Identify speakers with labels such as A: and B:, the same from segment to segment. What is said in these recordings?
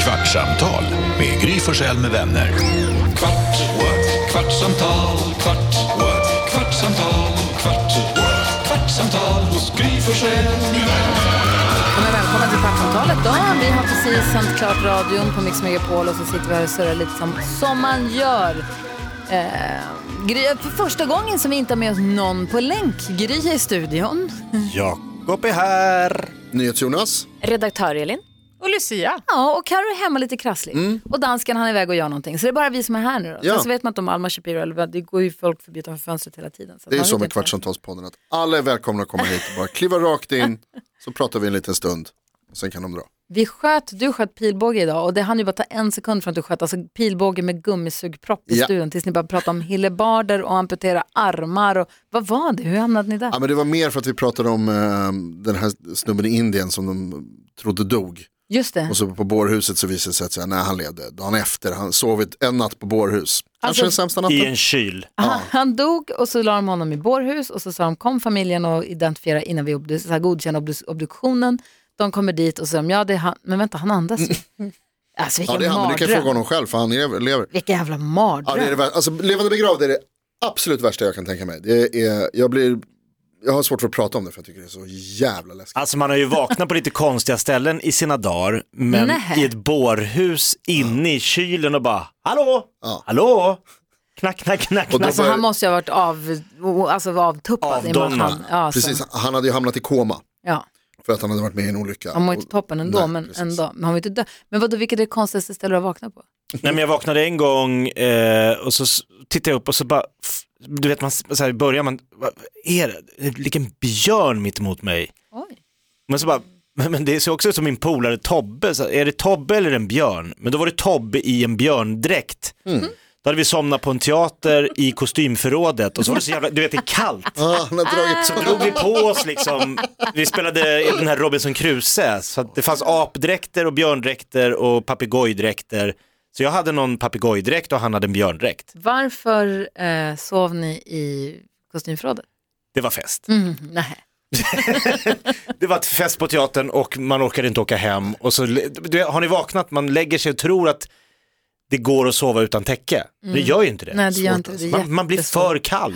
A: Kvartsamtal med Gry Forssell med vänner. Kvart, what? kvartsamtal, kvart, what? kvartsamtal, kvart, what? kvartsamtal hos Gry Forssell med vänner.
B: Ja, men välkomna till Kvartsamtalet då. Vi har precis sänt klart radion på Mix Megapol och så sitter vi här och surrar lite som, som man gör. Eh, Gry, för första gången som vi inte har med oss någon på länk. Gry är i studion.
C: Jakob är här.
D: NyhetsJonas.
E: Redaktör Elin.
F: Och Lucia.
B: Ja, och Karo är hemma lite krasslig. Och dansken han är iväg och gör någonting. Så det är bara vi som är här nu då.
D: Mm. Ja.
B: Sen så vet man inte om Alma Shapiro eller vad, det går ju folk förbi utanför fönstret hela tiden.
D: Det är
B: man
D: så
B: vet
D: med
B: inte.
D: Kvartsamtalspodden att alla är välkomna att komma hit och bara kliva rakt in så pratar vi en liten stund och sen kan de dra.
B: Vi sköt, du sköt pilbåge idag och det hann ju bara ta en sekund från att du sköt alltså pilbåge med gummisugpropp i
D: Ja.
B: studion tills ni bara pratade om hillebarder och amputera armar och vad var det, hur hamnade ni där?
D: Ja, men det var mer för att vi pratade om eh, den här snubben i Indien som de trodde dog.
B: Just det,
D: Och så på bårhuset så visade det sig att säga, nej, han levde dagen efter. Han sovit en natt på bårhus. Kanske
B: Alltså-
D: den sämsta
C: I
D: natten.
C: en kyl.
B: han, han dog och så la de honom i bårhus och så sa de kom familjen och identifiera innan vi obdu- så här, godkänner obdu- obduktionen. De kommer dit och så säger de, ja det är han, men vänta han andas ju. Alltså
D: Mm. Ja,
B: vilken
D: det är han, men du kan
B: mardröm.
D: fråga honom själv för han lever. lever.
B: Vilken jävla
D: Ja, det är det,
B: mardröm.
D: vär- alltså, levande begravd är det absolut värsta jag kan tänka mig. Det är, jag, blir, jag har svårt för att prata om det för jag tycker det är så jävla läskigt.
C: Alltså man har ju vaknat på lite konstiga ställen i sina dagar, men
B: Nej.
C: i ett bårhus inne i kylen och bara, hallå,
D: Ja.
C: hallå, knack, knack, knack,
D: Och då
C: knack.
B: Alltså
D: bör-
B: han måste ju ha varit av, alltså, avtuppad. i och med att
C: Avdomnad.
B: han- Ja, så-
D: Precis, han hade ju hamnat i koma
B: ja.
D: för att han hade varit med i en olycka.
B: Han mår inte
D: Och-
B: toppen ändå,
D: Nej,
B: men
D: precis.
B: ändå. Men han var inte död. Men vadå, vilket är det konstigaste stället att vakna på?
C: Nej men jag vaknade en gång eh, och så s- tittade jag upp och så bara, f- du vet man, s- så här, i början man, vad är det, det ligger en björn mitt emot mig.
B: Oj.
C: Men så bara, men men det ser också ut som min polare Tobbe, så här, är det Tobbe eller en björn? Men då var det Tobbe i en björndräkt. Då hade vi somnat på en teater i kostymförrådet och så var det så jävla, du vet det är kallt.
D: Ah, han har dragit
C: Så drog vi på oss liksom, vi spelade i den här Robinson Crusoe, så att det fanns apdräkter och björndräkter och papegojdräkter. Så jag hade någon papegojdräkt och han hade en björndräkt.
B: Varför eh, sov ni i kostymförrådet?
C: Det var fest.
B: Mm, nej.
C: Det var ett fest på teatern och man orkade inte åka hem. Och så, du, har ni vaknat, man lägger sig och tror att det går att sova utan täcke. Det gör ju inte det.
B: Mm. nej, det gör inte det. det. är
C: man, man blir
B: jättesvårt.
C: för kall.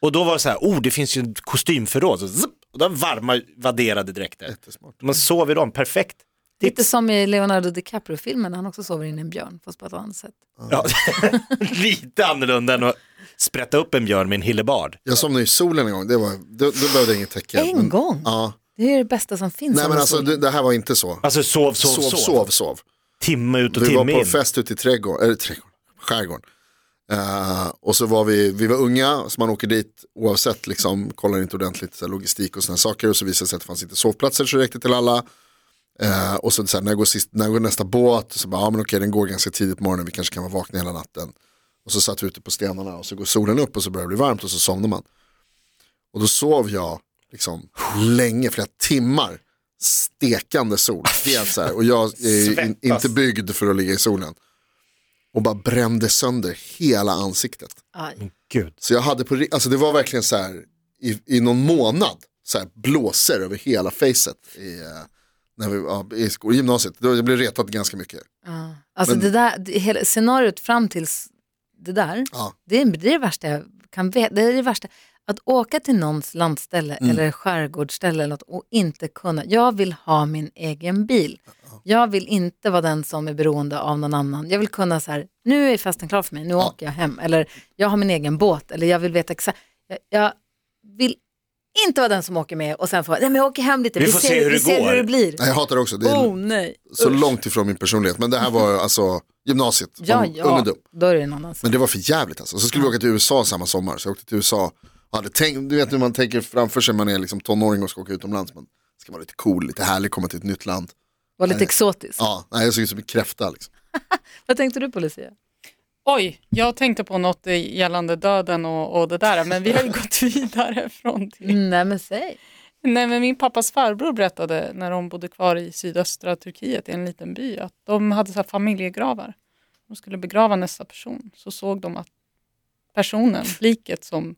C: Och då var det så här, oh det finns ju ett kostymförråd. Så, zip, och där varma vadderade dräkter. Man sover i dem, perfekt.
B: Lite som i Leonardo DiCaprio-filmen, när han också sover in i en björn, fast på ett annat sätt.
C: Ja. Lite annorlunda än att sprätta upp en björn med en hillebard.
D: Jag somnade i solen en gång, det var, då, då behövde jag inget täcke.
B: En
D: Men-
B: gång?
D: Ja.
B: Det är det bästa som finns.
D: Nej
B: om
D: men
B: man
D: alltså
B: sover.
D: det, det här var inte så.
C: Alltså sov, sov, sov.
D: Sov, sov, sov.
C: Timme ut och
D: Vi var
C: timme
D: på
C: in.
D: fest ute i trädgården, eller trädgården, skärgården. Eh, och så var vi, vi var unga, så man åker dit oavsett, liksom, kollar inte ordentligt så här, logistik och sådana saker. Och så visade det sig att det fanns inte sovplatser så det räckte till alla. Eh, och så, så här, när, går sist, när går nästa båt? Så bara, ja men okej den går ganska tidigt på morgonen, vi kanske kan vara vakna hela natten. Och så satt vi ute på stenarna och så går solen upp och så börjar det bli varmt och så somnar man. Och då sov jag liksom länge, flera timmar, stekande sol. Helt så här. Och jag är ju in, inte byggd för att ligga i solen. Och bara brände sönder hela ansiktet.
B: Aj.
C: Gud.
D: Så jag hade på, ri- alltså det var verkligen så här i, i någon månad, så här blåser över hela facet i, eh, när vi, ja, i sko- i gymnasiet. Då- Jag blev retad ganska mycket.
B: Ja. Alltså
D: Men-
B: det där, det, hela, scenariot fram till det där,
D: Ja.
B: det, är, det är det värsta jag kan veta. Det är det värsta. Att åka till någons landställe
C: Mm.
B: eller skärgårdsställe eller något och inte kunna. Jag vill ha min egen bil. Jag vill inte vara den som är beroende av någon annan. Jag vill kunna så här, nu är festen klar för mig, nu åker jag hem. Eller jag har min egen båt, eller jag vill veta exakt. Jag, jag vill inte vara den som åker med och sen få, nej men jag åker hem lite,
C: Vi får se hur
B: vi
C: det
B: ser
C: går."
B: hur det blir.
D: Nej, Jag hatar det också, det är
B: Oh nej.
D: så långt ifrån min personlighet. Men det här var alltså gymnasiet,
B: Ja,
D: ung-
B: ja,
D: ungdom.
B: då är det någon annan.
D: Men det var för jävligt alltså. Så skulle vi åka till USA samma sommar. Så jag åkte till USA. Och hade tänkt, du vet när man tänker framför sig, man är liksom tonåring och ska åka utomlands. Man ska vara lite cool, lite härlig, komma till ett nytt land.
B: Var lite exotisk.
D: Ja, nej, jag såg ut som en kräfta liksom.
B: Vad tänkte du på Lucia?
F: Oj, jag tänkte på något gällande döden och, och det där, men vi har ju gått vidare från det.
C: Mm.
B: Nej men säg.
F: Nej, men min pappas farbror berättade när de bodde kvar i sydöstra Turkiet i en liten by att de hade så här familjegravar. De skulle begrava nästa person. Så såg de att personen, liket som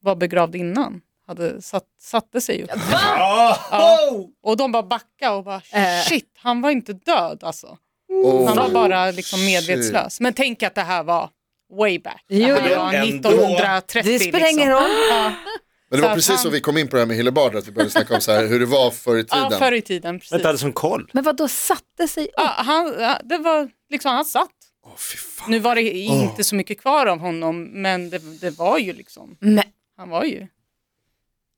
F: var begravd innan, hade satt, satte sig upp. Ja. Och de bara backade och bara
B: Äh.
F: shit, han var inte död alltså.
B: Mm.
D: Oh.
F: Han var bara liksom medvetslös. Men tänk att det här var way back.
B: Jo,
F: det här
C: jo.
F: var
C: Ändå.
F: 1930.
B: Det spelar ingen
F: liksom.
B: roll.
F: Ja,
D: Men det
F: Så
D: var
F: att
D: precis så
F: han-
D: vi kom in på det här med Hillebard, att vi började snacka om så här, hur det var förr i tiden.
F: ja, förr i tiden.
C: Jag
F: Precis.
C: inte hade sån koll.
B: Men vad då satte sig upp?
F: Ja, han, ja, det var, liksom, han satt.
D: Åh, fy fan.
F: Nu var det inte så mycket kvar av honom, men det, det var ju liksom,
B: Nej.
F: han var ju,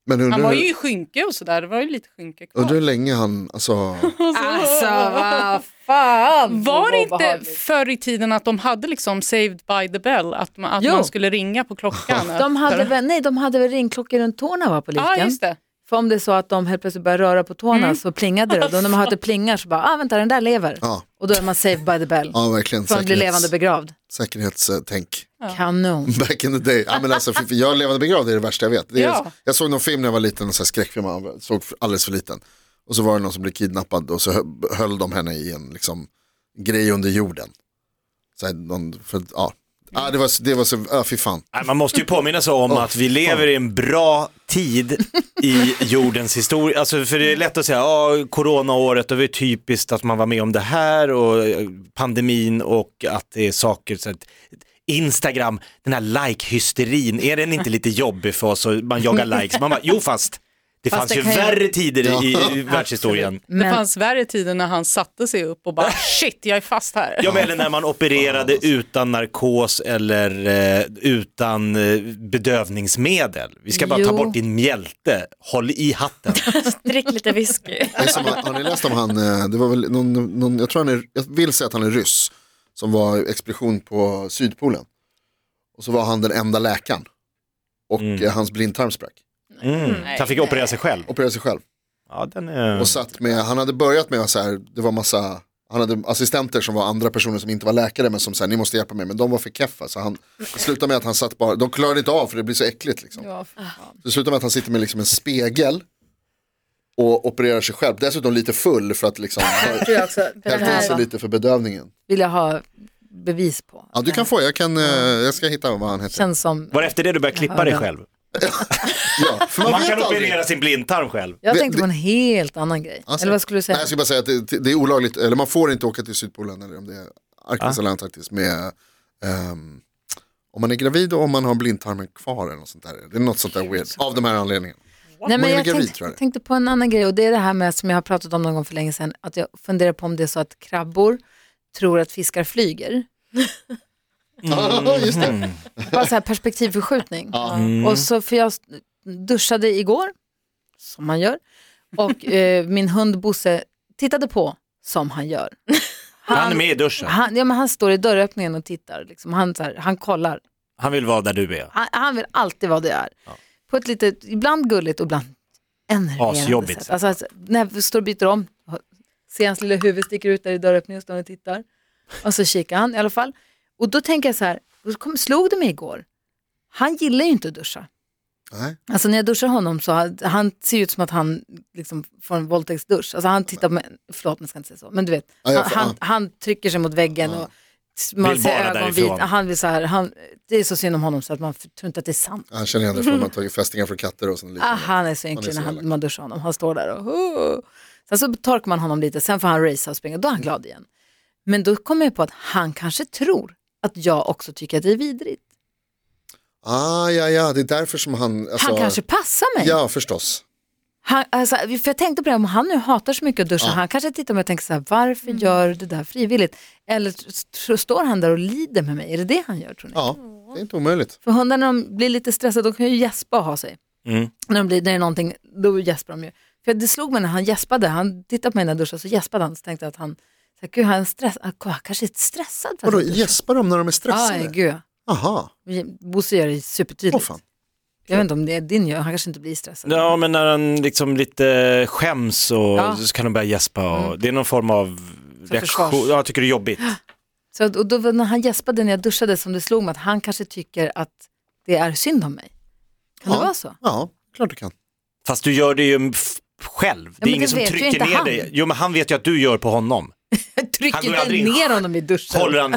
D: Men undrar,
F: han var ju
D: hur-
F: i skynke och sådär, det var ju lite skynke kvar.
D: undrar hur länge han, alltså,
B: Alltså vad fan.
F: Var det
B: Vad
F: inte
B: obehagligt.
F: förr i tiden att de hade liksom saved by the bell, att man, att
B: Jo.
F: man skulle ringa på klockan?
B: De hade,
F: efter-
B: väl, nej, de hade väl ringklockor runt tårna va, på
F: Ja,
B: liken?
F: just det. Mm.
B: För om det är så att de helt plötsligt börjar röra på tårna så plingade det. Och då när man hör att det plingar så bara, ah vänta den där lever.
D: Ja.
B: Och då är man saved by the bell.
D: ja verkligen
B: För att bli levande
D: säkerhets,
B: begravd.
D: säkerhetstänk.
B: Kanon.
D: Back in the day. Ja, men alltså, för, för jag levande begravd är det värsta jag vet. Det är,
F: Ja.
D: Jag såg någon film när jag var liten, en sån här skräckfilm, jag såg för- alldeles för liten. Och så var det någon som blev kidnappad och så hö- höll de henne i en liksom, grej under jorden. Så här, någon, för, ja. Ja, det, var, det var så, ja, fy fan.
C: Nej, Man måste ju påminna sig om att vi lever i en bra tid i jordens historia. Alltså, för det är lätt att säga, ja, coronaåret, det var ju typiskt att man var med om det här och eh, pandemin och att det är saker, så att Instagram, den här like-hysterin, är den inte lite jobbig för oss och man jagar likes? Man bara, jo fast, det
B: Fast
C: fanns
B: det
C: ju
B: kan ju-
C: värre tider i, i världshistorien.
F: Det
B: Men
F: fanns värre tider när han satte sig upp och bara shit, jag är fast här.
C: Ja, men eller när man opererade utan narkos eller eh, utan eh, bedövningsmedel. Vi ska bara
B: Jo.
C: ta bort din mjälte, håll i hatten.
E: Drick lite whisky.
D: Det är som, har ni läst om han, eh, det var väl någon, någon jag tror han är, jag vill säga att han är ryss, som var expedition på Sydpolen. Och så var han den enda läkaren. Och eh, hans blindtarm sprack.
C: Mm. Så han fick operera sig själv.
D: Opererade sig själv.
C: Ja, den är...
D: Och satt med, han hade börjat med så här, det var massa, han hade assistenter som var andra personer som inte var läkare men som sa ni måste hjälpa mig, men de var för keffa. Så han det slutade med att han satt bara, de klarade inte av för det blir så äckligt liksom. Så det slutade med att han sitter med liksom en spegel och opererar sig själv, dessutom lite full för att liksom hälta i sig
B: här
D: lite för bedövningen.
B: vill jag ha bevis på.
D: Ja du kan få, jag, kan, eh, jag ska hitta vad han heter.
B: Känns som,
C: Var det efter det du började klippa dig själv?
D: Ja, för
C: Man
D: vet
C: kan
D: aldrig.
C: operera sin blindtarm själv.
B: jag
D: Det-
B: tänkte på en helt annan grej.
D: Alltså.
B: Eller vad skulle du säga?
D: Nej, jag skulle bara säga att det, det är olagligt, eller man får inte åka till Sydpolen eller om det är Arktis
C: Ah.
D: eller Antarktis med ehm, om man är gravid och om man har blindtarmen kvar eller något sånt där. Det är något sånt där weird, av de här anledningarna.
B: Nej, men
D: Många
B: jag,
D: gravid,
B: tänkte,
D: tror jag.
B: jag tänkte på en annan grej och det är det här med som jag har pratat om någon gång för länge sedan. Att jag funderar på om det är så att krabbor tror att fiskar flyger.
D: Mm. Ja, Just det.
B: Bara så här perspektivförskjutning. Och så, för jag duschade igår, som man gör, och eh, min hund Bosse tittade på, som han gör.
C: Han är med i duschen.
B: Han, ja, men han står i dörröppningen och tittar, liksom. han, så här, han kollar.
C: Han vill vara där du är.
B: Han, han vill alltid vara det är. På ett lite, ibland gulligt och ibland enerverande
C: Asjobbigt
B: sätt.
C: sätt.
B: Alltså, alltså, när vi står och byter om, ser hans lilla huvud sticker ut där i dörröppningen och står och tittar. Och så kikar han i alla fall. Och då tänker jag så här, och så kom, slog det mig igår, han gillar ju inte att duscha.
D: Nej.
B: Alltså när jag duschar honom så han, han ser ut som att han liksom får en våldtäktsdusch. Alltså han tittar på mig, förlåt jag ska inte säga så, men du vet,
D: Ja, jag
B: han,
D: får-
B: han,
D: ja.
B: han trycker sig mot väggen och man
C: Vill
B: ser
C: bara
B: ögonvit.
C: därifrån.
B: Han vill så här, han, det är så synd om honom så att man f- tror inte att det är sant.
D: Han känner igen det från att man tagit fästingar från katter och sånt.
B: Ah,
D: liknande.
B: han är så
D: Han är
B: ynklig
D: så
B: när han,
D: elak.
B: man duschar honom. Han står där och "Huh." Sen så torkar man honom lite, sen får han racea och springa, då är han glad igen. Men då kommer jag på att han kanske tror att jag också tycker att det är vidrigt.
D: Ah, ja, ja, det är därför som han... Alltså,
B: Han kanske passar mig.
D: Ja, förstås.
B: Han, alltså, för jag tänkte på det, om han nu hatar så mycket att duscha, han kanske tittar på mig och tänker så här, varför gör du det där frivilligt? Eller s- s- står han där och lider med mig? Är det det han gör tror ni?
D: Ja, det är inte omöjligt.
B: För hundarna de blir lite stressade, de kan ju gäspa och ha sig.
C: Mm.
B: När, de blir, när det är någonting, då gäspar de ju. För det slog mig när han gäspade, han tittade på mig när jag duschade, så gäspade han, så tänkte jag att han, så här, gud han, är stress, han kanske är stressad. för att
D: Vadå,
B: han duschar."
D: gäspar de när de
B: Ja,
D: är stressade?
B: gud.
D: Aha,
B: Bosse gör det
D: åh
B: supertydligt.
D: fan.
B: jag vet inte om det är din gör, han kanske inte blir stressad.
C: Ja, men när han liksom lite skäms och
B: Ja.
C: så kan de börja gäspa. Och... Det är någon form av
B: Så
C: reaktion.
B: försvars-
C: Ja, jag tycker det är jobbigt.
B: Så, att- och då, var- när han gäspade när jag duschade som det slog mig att han kanske tycker att det är synd om mig. Kan
D: Ja.
B: det vara så?
D: Ja, klart du kan.
C: Fast du gör det ju f- själv.
B: men
C: det är
B: det
C: ingen som
B: vet ju
C: trycker
B: inte
C: ner
B: han.
C: dig. Jo, men han vet ju att du gör på honom.
B: Jag
C: Han går
B: trycker
C: ju
B: inte
C: aldrig in.
B: ner honom i duschen.
C: Håller han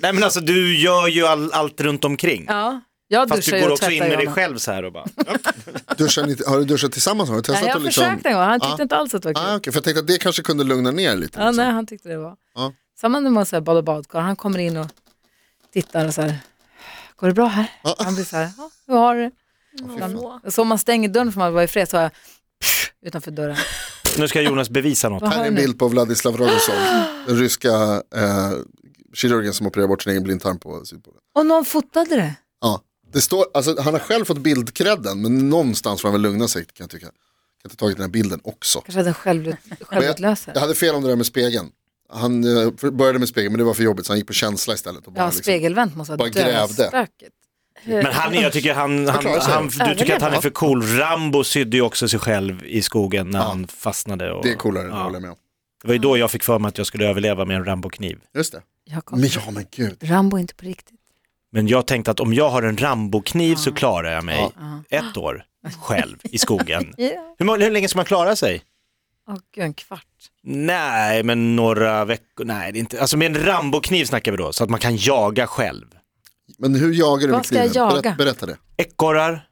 C: Nej, men alltså du gör ju all, allt runt omkring.
B: Ja, jag
C: Fast
B: duschar
C: du
B: ju
C: går
B: och
C: också
B: tvättar
C: in med
B: ju
C: dig
B: honom.
C: själv så här och bara.
D: Duschar ni, har du duschat tillsammans? Har du
B: Ja,
D: testat
B: jag
D: att liksom...
B: försökte en gång, han tyckte
D: Ja.
B: inte alls att det var kul.
D: Ah, okay. För jag tänkte att det kanske kunde lugna ner lite.
B: Ja,
D: liksom.
B: nej, han tyckte det var.
D: Ja.
B: Samma när man så här bad och badkar, han kommer in och tittar och så här, går det bra här? Han blir så här, ja, hur har du det?
E: Åh.
B: Och så om man stänger dörren för att vara i fred så har jag pff, utanför dörren.
C: Nu ska Jonas bevisa något.
B: Vad
D: Här
B: har
D: är
B: du
D: en
B: nu?
D: bild på Vladislav Rogozov, den ryska eh, kirurgen som opererar bort sin egen blindtarm på Sydpolen.
B: Och någon fotade det.
D: Ja, det står, alltså, han har själv fått bildkredden, men någonstans får han väl lugna sig kan jag tycka. Jag kan inte tagit den här bilden också.
B: Kanske hade en självut, självutlösare.
D: Jag hade fel om det där med spegeln. Han eh, för- började med spegeln, men det var för jobbigt så han gick på känsla istället. Och bara,
B: Ja,
D: liksom,
B: spegelvänt måste
D: bara
B: vara
D: grävde.
B: dödsstökigt.
C: Men han är, jag tycker han, han,
D: klarar sig.
C: han, du tycker att han är
D: Överlevde.
C: för cool. Rambo sydde ju också sig själv i skogen när
D: Ja.
C: han fastnade. Och,
D: det är coolare, det
C: Ja.
D: håller jag med om.
C: Det var ju då jag fick för mig att jag skulle överleva med en Rambo-kniv.
D: Just det.
B: Jakob,
D: Men ja, men gud.
B: Rambo är inte på riktigt.
C: Men jag tänkte att om jag har en Rambo-kniv så klarar jag mig
B: Ja.
C: ett år själv i skogen.
B: Ja.
C: Hur, må- hur länge ska man klara sig?
B: Åh gud, en kvart.
C: Nej, men några veckor. Nej, det är inte. Alltså med en Rambo-kniv snackar vi då, så att man kan jaga själv.
D: Men hur jagar du
B: Vad
D: med
B: ska jag
D: kniven? Berätta,
B: jaga?
D: berätta det.
C: Ekorrar,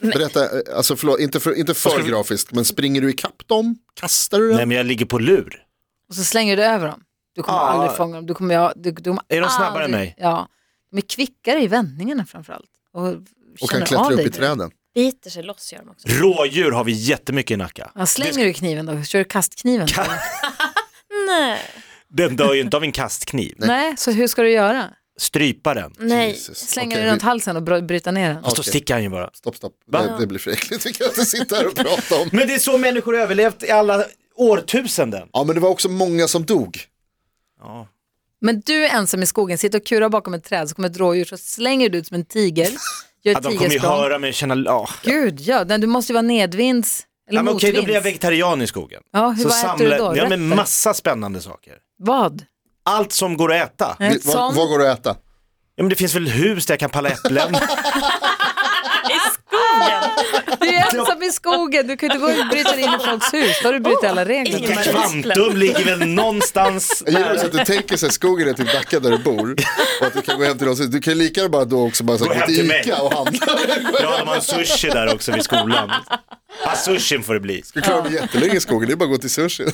D: Berätta, eh, alltså förlåt, inte för, inte för
C: ska vi-
D: grafiskt, men springer du ikapp dem? Kastar du
C: nej
D: den?
C: men jag ligger på lur.
B: Och så slänger du över dem. Du kommer
C: Ja.
B: aldrig fånga dem. Du kommer, ja, du, du kommer
C: Är de snabbare än
B: aldrig-
C: mig?
B: Ja, de är kvickare i vändningarna framförallt. Och,
D: Och
B: känner
D: kan klättra
B: av
D: upp
B: dig
D: i
B: direkt.
D: träden.
E: Biter sig loss gör de också.
C: Rådjur har vi jättemycket i Nacka.
B: Ja, slänger du kniven då? Kör du kastkniven?
E: Nej,
C: Den dör ju inte av en kastkniv.
B: Nej, så hur ska du göra?
C: Strypa den.
E: nej.
D: Jesus.
B: Slänga
D: Okej,
B: den
D: vi-
B: runt halsen och bry- bryta ner den?
C: Fast då
D: Okej.
C: sticker han ju bara.
D: Stopp, stopp. Det, det blir för äckligt. Vi kan inte sitta här och prata om.
C: Men det är så människor har överlevt i alla årtusenden.
D: Ja, men det var också många som dog.
C: Ja.
B: Men du är ensam i skogen, sitter och kurar bakom ett träd så kommer ett rådjur så slänger du ut som en tiger. Gör
C: Ja,
B: ett
C: de kommer ju
B: tigersprång.
C: höra mig känna, ja.
B: Gud ja, Nej, du måste ju vara nedvinds eller
C: ja men okej,
B: motvinds.
C: då blir jag vegetarian i skogen.
B: Ja, hur, vad äter du då?
C: Ja, men
B: Rötter?
C: massa spännande saker.
B: Vad?
C: Allt som går att äta. Ja,
B: Nej,
D: Vad,
B: som-
D: vad går det att äta?
C: men det finns väl hus där jag kan palla äpplen.
E: I skogen!
B: Du är ensam i skogen, du kan ju inte gå och bryta dig in i folks hus. Då har du brutit alla
C: Mm.
E: ingen
B: regler.
E: människa.
C: Kvantum ligger väl någonstans
D: Jag gillar också
C: nära.
D: att du tänker sig skogen är typ Nacka där du bor. Och att du kan gå hem till någon. Du kan lika gärna bara då också bara så
C: Gå
D: här, gå
C: hem
D: till
C: till
D: Ica
C: mig.
D: och handla.
C: Ja, de har en sushi där också vid skolan. Ja, sushin får det bli.
D: Du klarar dig jättelänge i skogen, det är bara att gå till sushi.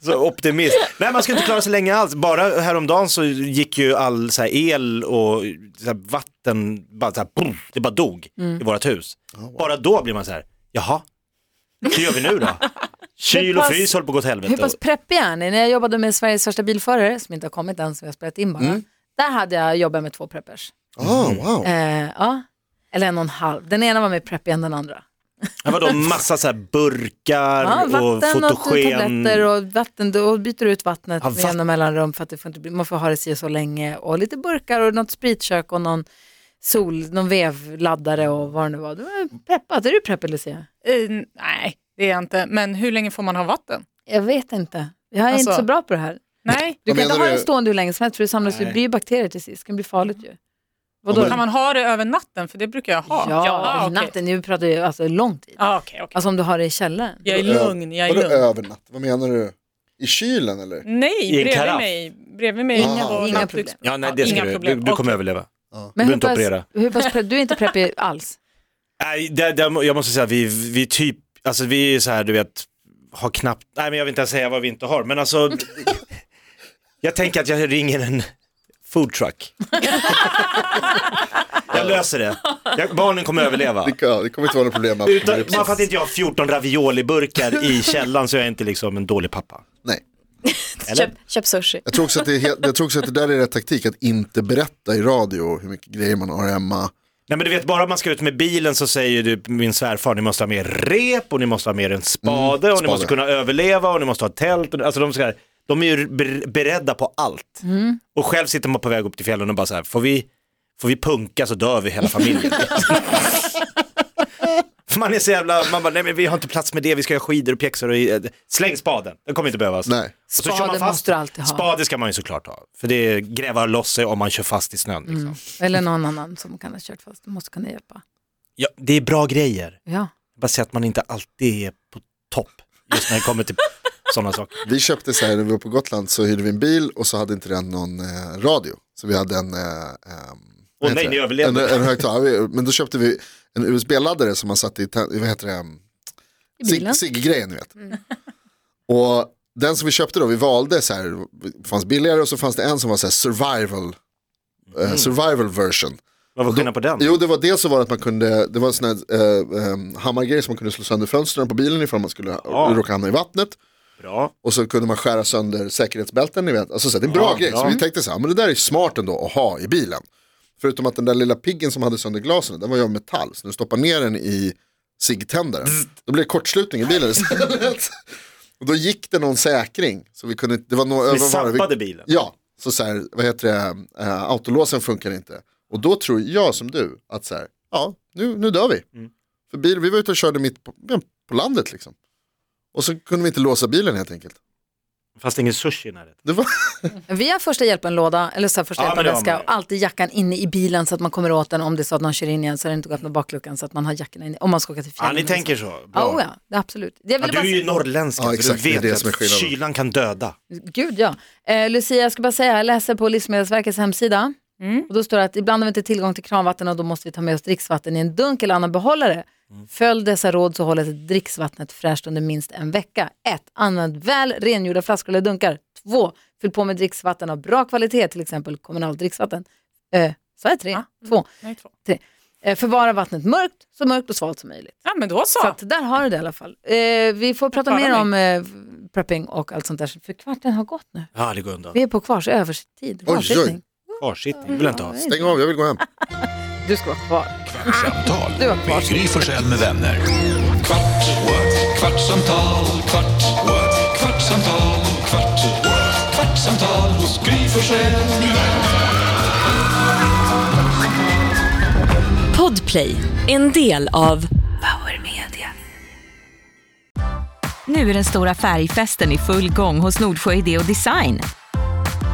C: Så optimist. Nej man ska inte klara sig länge alls. Bara häromdagen så gick ju all så här el och så här vatten, bara så här, boom, det bara dog
B: Mm.
C: i vårt hus. Bara då blir man så här, jaha, hur gör vi nu då? Kyl och
E: pass-
C: frys håller på att gå åt
B: Hur
C: helvete.
B: pass preppiga är ni? När jag jobbade med Sveriges största bilförare, som inte har kommit än, som jag har spelat in bara.
C: Mm.
B: Där hade jag jobbat med två preppers.
C: Ah,
D: Oh, wow.
B: Eh, ja. Eller en och en halv. Den ena var mer preppig än den andra.
C: Det var då massa så här burkar
B: Ja,
C: och
B: vatten och,
C: fotogen. Ah,
B: tabletter och vatten. Då byter du ut vattnet
C: Ja,
B: med
C: vatt-
B: jämna mellanrum för att det får inte bli, man får ha det si och så länge. Och lite burkar och något spritkök och någon sol, någon vevladdare och vad det nu var. Du var preppat. Är du preppad Lucia?
F: Eh, nej, det är jag inte. Men hur länge får man ha vatten?
B: Jag vet inte. Jag är
F: Alltså-
B: inte så bra på det här.
F: Nej,
B: Du
D: Vad
B: kan inte
D: menar
B: ha den
D: du?
B: stående hur länge som helst för det samlas ju,
C: Nej.
B: det blir ju bakterier till sist. Det kan bli farligt ju. Vadå?
D: men-
F: kan man ha det över natten? För det brukar jag ha.
B: Ja,
F: ah,
B: ja
F: okej.
B: natten. Nu pratar vi alltså lång tid.
F: Ah, okej, okej.
B: Alltså om du har det i källaren.
F: Jag är lugn, jag är
D: Vadå
F: lugn.
D: övernatt? Vad menar du? I kylen eller?
F: Nej,
C: I en
F: bredvid
C: karaff. Ah,
F: mig. Bredvid mig.
D: Inga-
F: på
B: inga
F: nattduks-
B: problem.
C: Ja, nej, det ska
F: Inga
C: du, du,
F: problem.
C: du kommer
F: Okej.
C: överleva.
B: Men
C: Du
B: hur
C: inte
B: pass,
C: operera.
B: hur pass prepp, du är inte preppig alls?
C: Nej, det, det, jag måste säga att vi, vi typ, alltså vi är så här, du vet, har knappt, nej men jag vill inte ens säga vad vi inte har, men alltså, jag tänker att jag ringer en foodtruck. jag löser det. Jag, barnen kommer överleva.
D: Det, ja, det kommer inte vara något problem. Att
C: Utan, bara för att inte jag har 14 ravioliburkar i källaren så är jag inte liksom en dålig pappa.
D: Nej.
C: Eller?
E: Köp, köp sushi.
D: Jag tror, också att det är helt, jag tror också att det där är rätt taktik, att inte berätta i radio hur mycket grejer man har hemma.
C: Nej men du vet, bara man ska ut med bilen så säger du, min svärfar, ni måste ha med rep och ni måste ha med en spade och ni
D: Mm, spade.
C: måste kunna överleva och ni måste ha tält. Och, alltså de, ska, de är ju ber- beredda på allt.
B: Mm.
C: Och själv sitter man på väg upp till fjällen och bara så här, får vi, får vi punka så dör vi hela familjen. För man är så jävla, man bara, nej men vi har inte plats med det, vi ska göra skidor och pjäxor och eh, släng spaden, den kommer inte behövas.
D: Nej.
C: Och så kör man
B: Spaden
C: fast-
B: måste du alltid ha.
C: Spade ska man ju såklart ha, för det grävar loss sig om man kör fast i snön.
B: Mm.
C: Liksom.
B: Eller någon annan som kan ha kört fast. Du måste kunna hjälpa.
C: Ja, det är bra grejer.
B: Ja.
C: bara säga att man inte alltid är på topp just när det kommer till sådana saker.
D: Vi köpte så här, när vi var på Gotland så hyrde vi en bil och så hade inte den någon eh, radio. Så vi hade en... Eh, ehm, vad heter
C: nej,
D: det?
C: ni överlevde.
D: En, en högtalare. Men då köpte vi en USB-laddare som man satte i, tä- vad heter det,
B: I bilen.
D: Sig- Sigge-grejen ni vet. Och den som vi köpte då, vi valde så här, det fanns billigare och så fanns det en som var så här survival, eh,
C: Mm.
D: survival version.
C: Vad var skillnaden på den?
D: Jo, det var dels så var det att man kunde, det var en sån här eh, eh, hammargrej som man kunde slå sönder fönstren på bilen ifall man skulle
C: Ja.
D: råka hamna i vattnet.
C: Bra.
D: Och så kunde man skära sönder säkerhetsbälten, ni vet. Alltså, så här, det är en bra
C: Ah, Ja,
D: grej.
C: bra.
D: Så vi tänkte så här, men det där är smart ändå att ha i bilen. Förutom att den där lilla piggen som hade sönder glasen, den var ju av metall. Så när du stoppar ner den i ciggtändaren, då blev det kortslutning i bilen istället. Och då gick det någon säkring. Så vi kunde, det var några
C: Vi
D: övervarv.
C: zappade bilen.
D: Ja, så så här, vad heter det, eh, autolåsen funkar inte. Och då tror jag som du att så här, ja, nu, nu dör vi. För bil, vi var ute och körde mitt på, ja, på landet liksom. Och så kunde vi inte låsa bilen helt enkelt.
C: Fast ingen sushi i närheten.
D: Det var,
B: Vi har första hjälpen-låda, eller så här, första
C: Ja, men det har
B: hjälpen-väska
C: man ju.
B: och alltid jackan inne i bilen så att man kommer åt den om det är så att någon kör in igen så har det inte gått med bakluckan så att man har jackan inne, om man ska åka till
C: Ja,
B: fjällen.
C: ni tänker så. Bra.
B: Ja, oh ja, det är absolut. Jag
C: Ja,
B: ville
C: du är ju
B: bara...
C: norrländsk,
D: Ja,
C: så
D: exakt,
C: du
D: det är
C: vet
D: det
C: att
D: som är skillnaden.
C: kylan kan döda.
B: Gud ja. Eh, Lucia, jag ska bara säga, jag läser på Livsmedelsverkets hemsida
F: Mm.
B: och då står det att ibland har vi inte tillgång till kranvatten och då måste vi ta med oss dricksvatten i en dunk eller annan behållare.
F: Mm.
B: Följ dessa råd så håller dricksvattnet fräscht under minst en vecka. 1. Använd väl rengjorda flaskor eller dunkar. 2. Fyll på med dricksvatten av bra kvalitet, till exempel kommunalt dricksvatten. Eh, så är 3. 2.
F: Nej, två.
B: Eh, förvara vattnet mörkt, så mörkt och svalt som möjligt.
F: Ja, men då så.
B: Så att där har du det i alla fall. Eh, vi får prata mer
F: klarar mig.
B: om eh, prepping och allt sånt där, för kvarten har gått nu.
C: Ja, det går undan.
B: Vi är på kvarts övertid.
D: oj.
B: Kvarsittning.
C: Kvarsittning vill jag inte ha.
D: stäng av, jag vill gå hem.
B: Du ska vara kvar.
A: Kvartsamtal
B: Du har kvar.
A: med Gry Forssell med vänner. Kvart, what? kvartsamtal, kvart, what? kvartsamtal, kvart, what? kvartsamtal hos Gry Forssell med vänner.
G: Podplay, en del av Power Media. Nu är den stora färgfesten i full gång hos Nordsjö Idé och Design.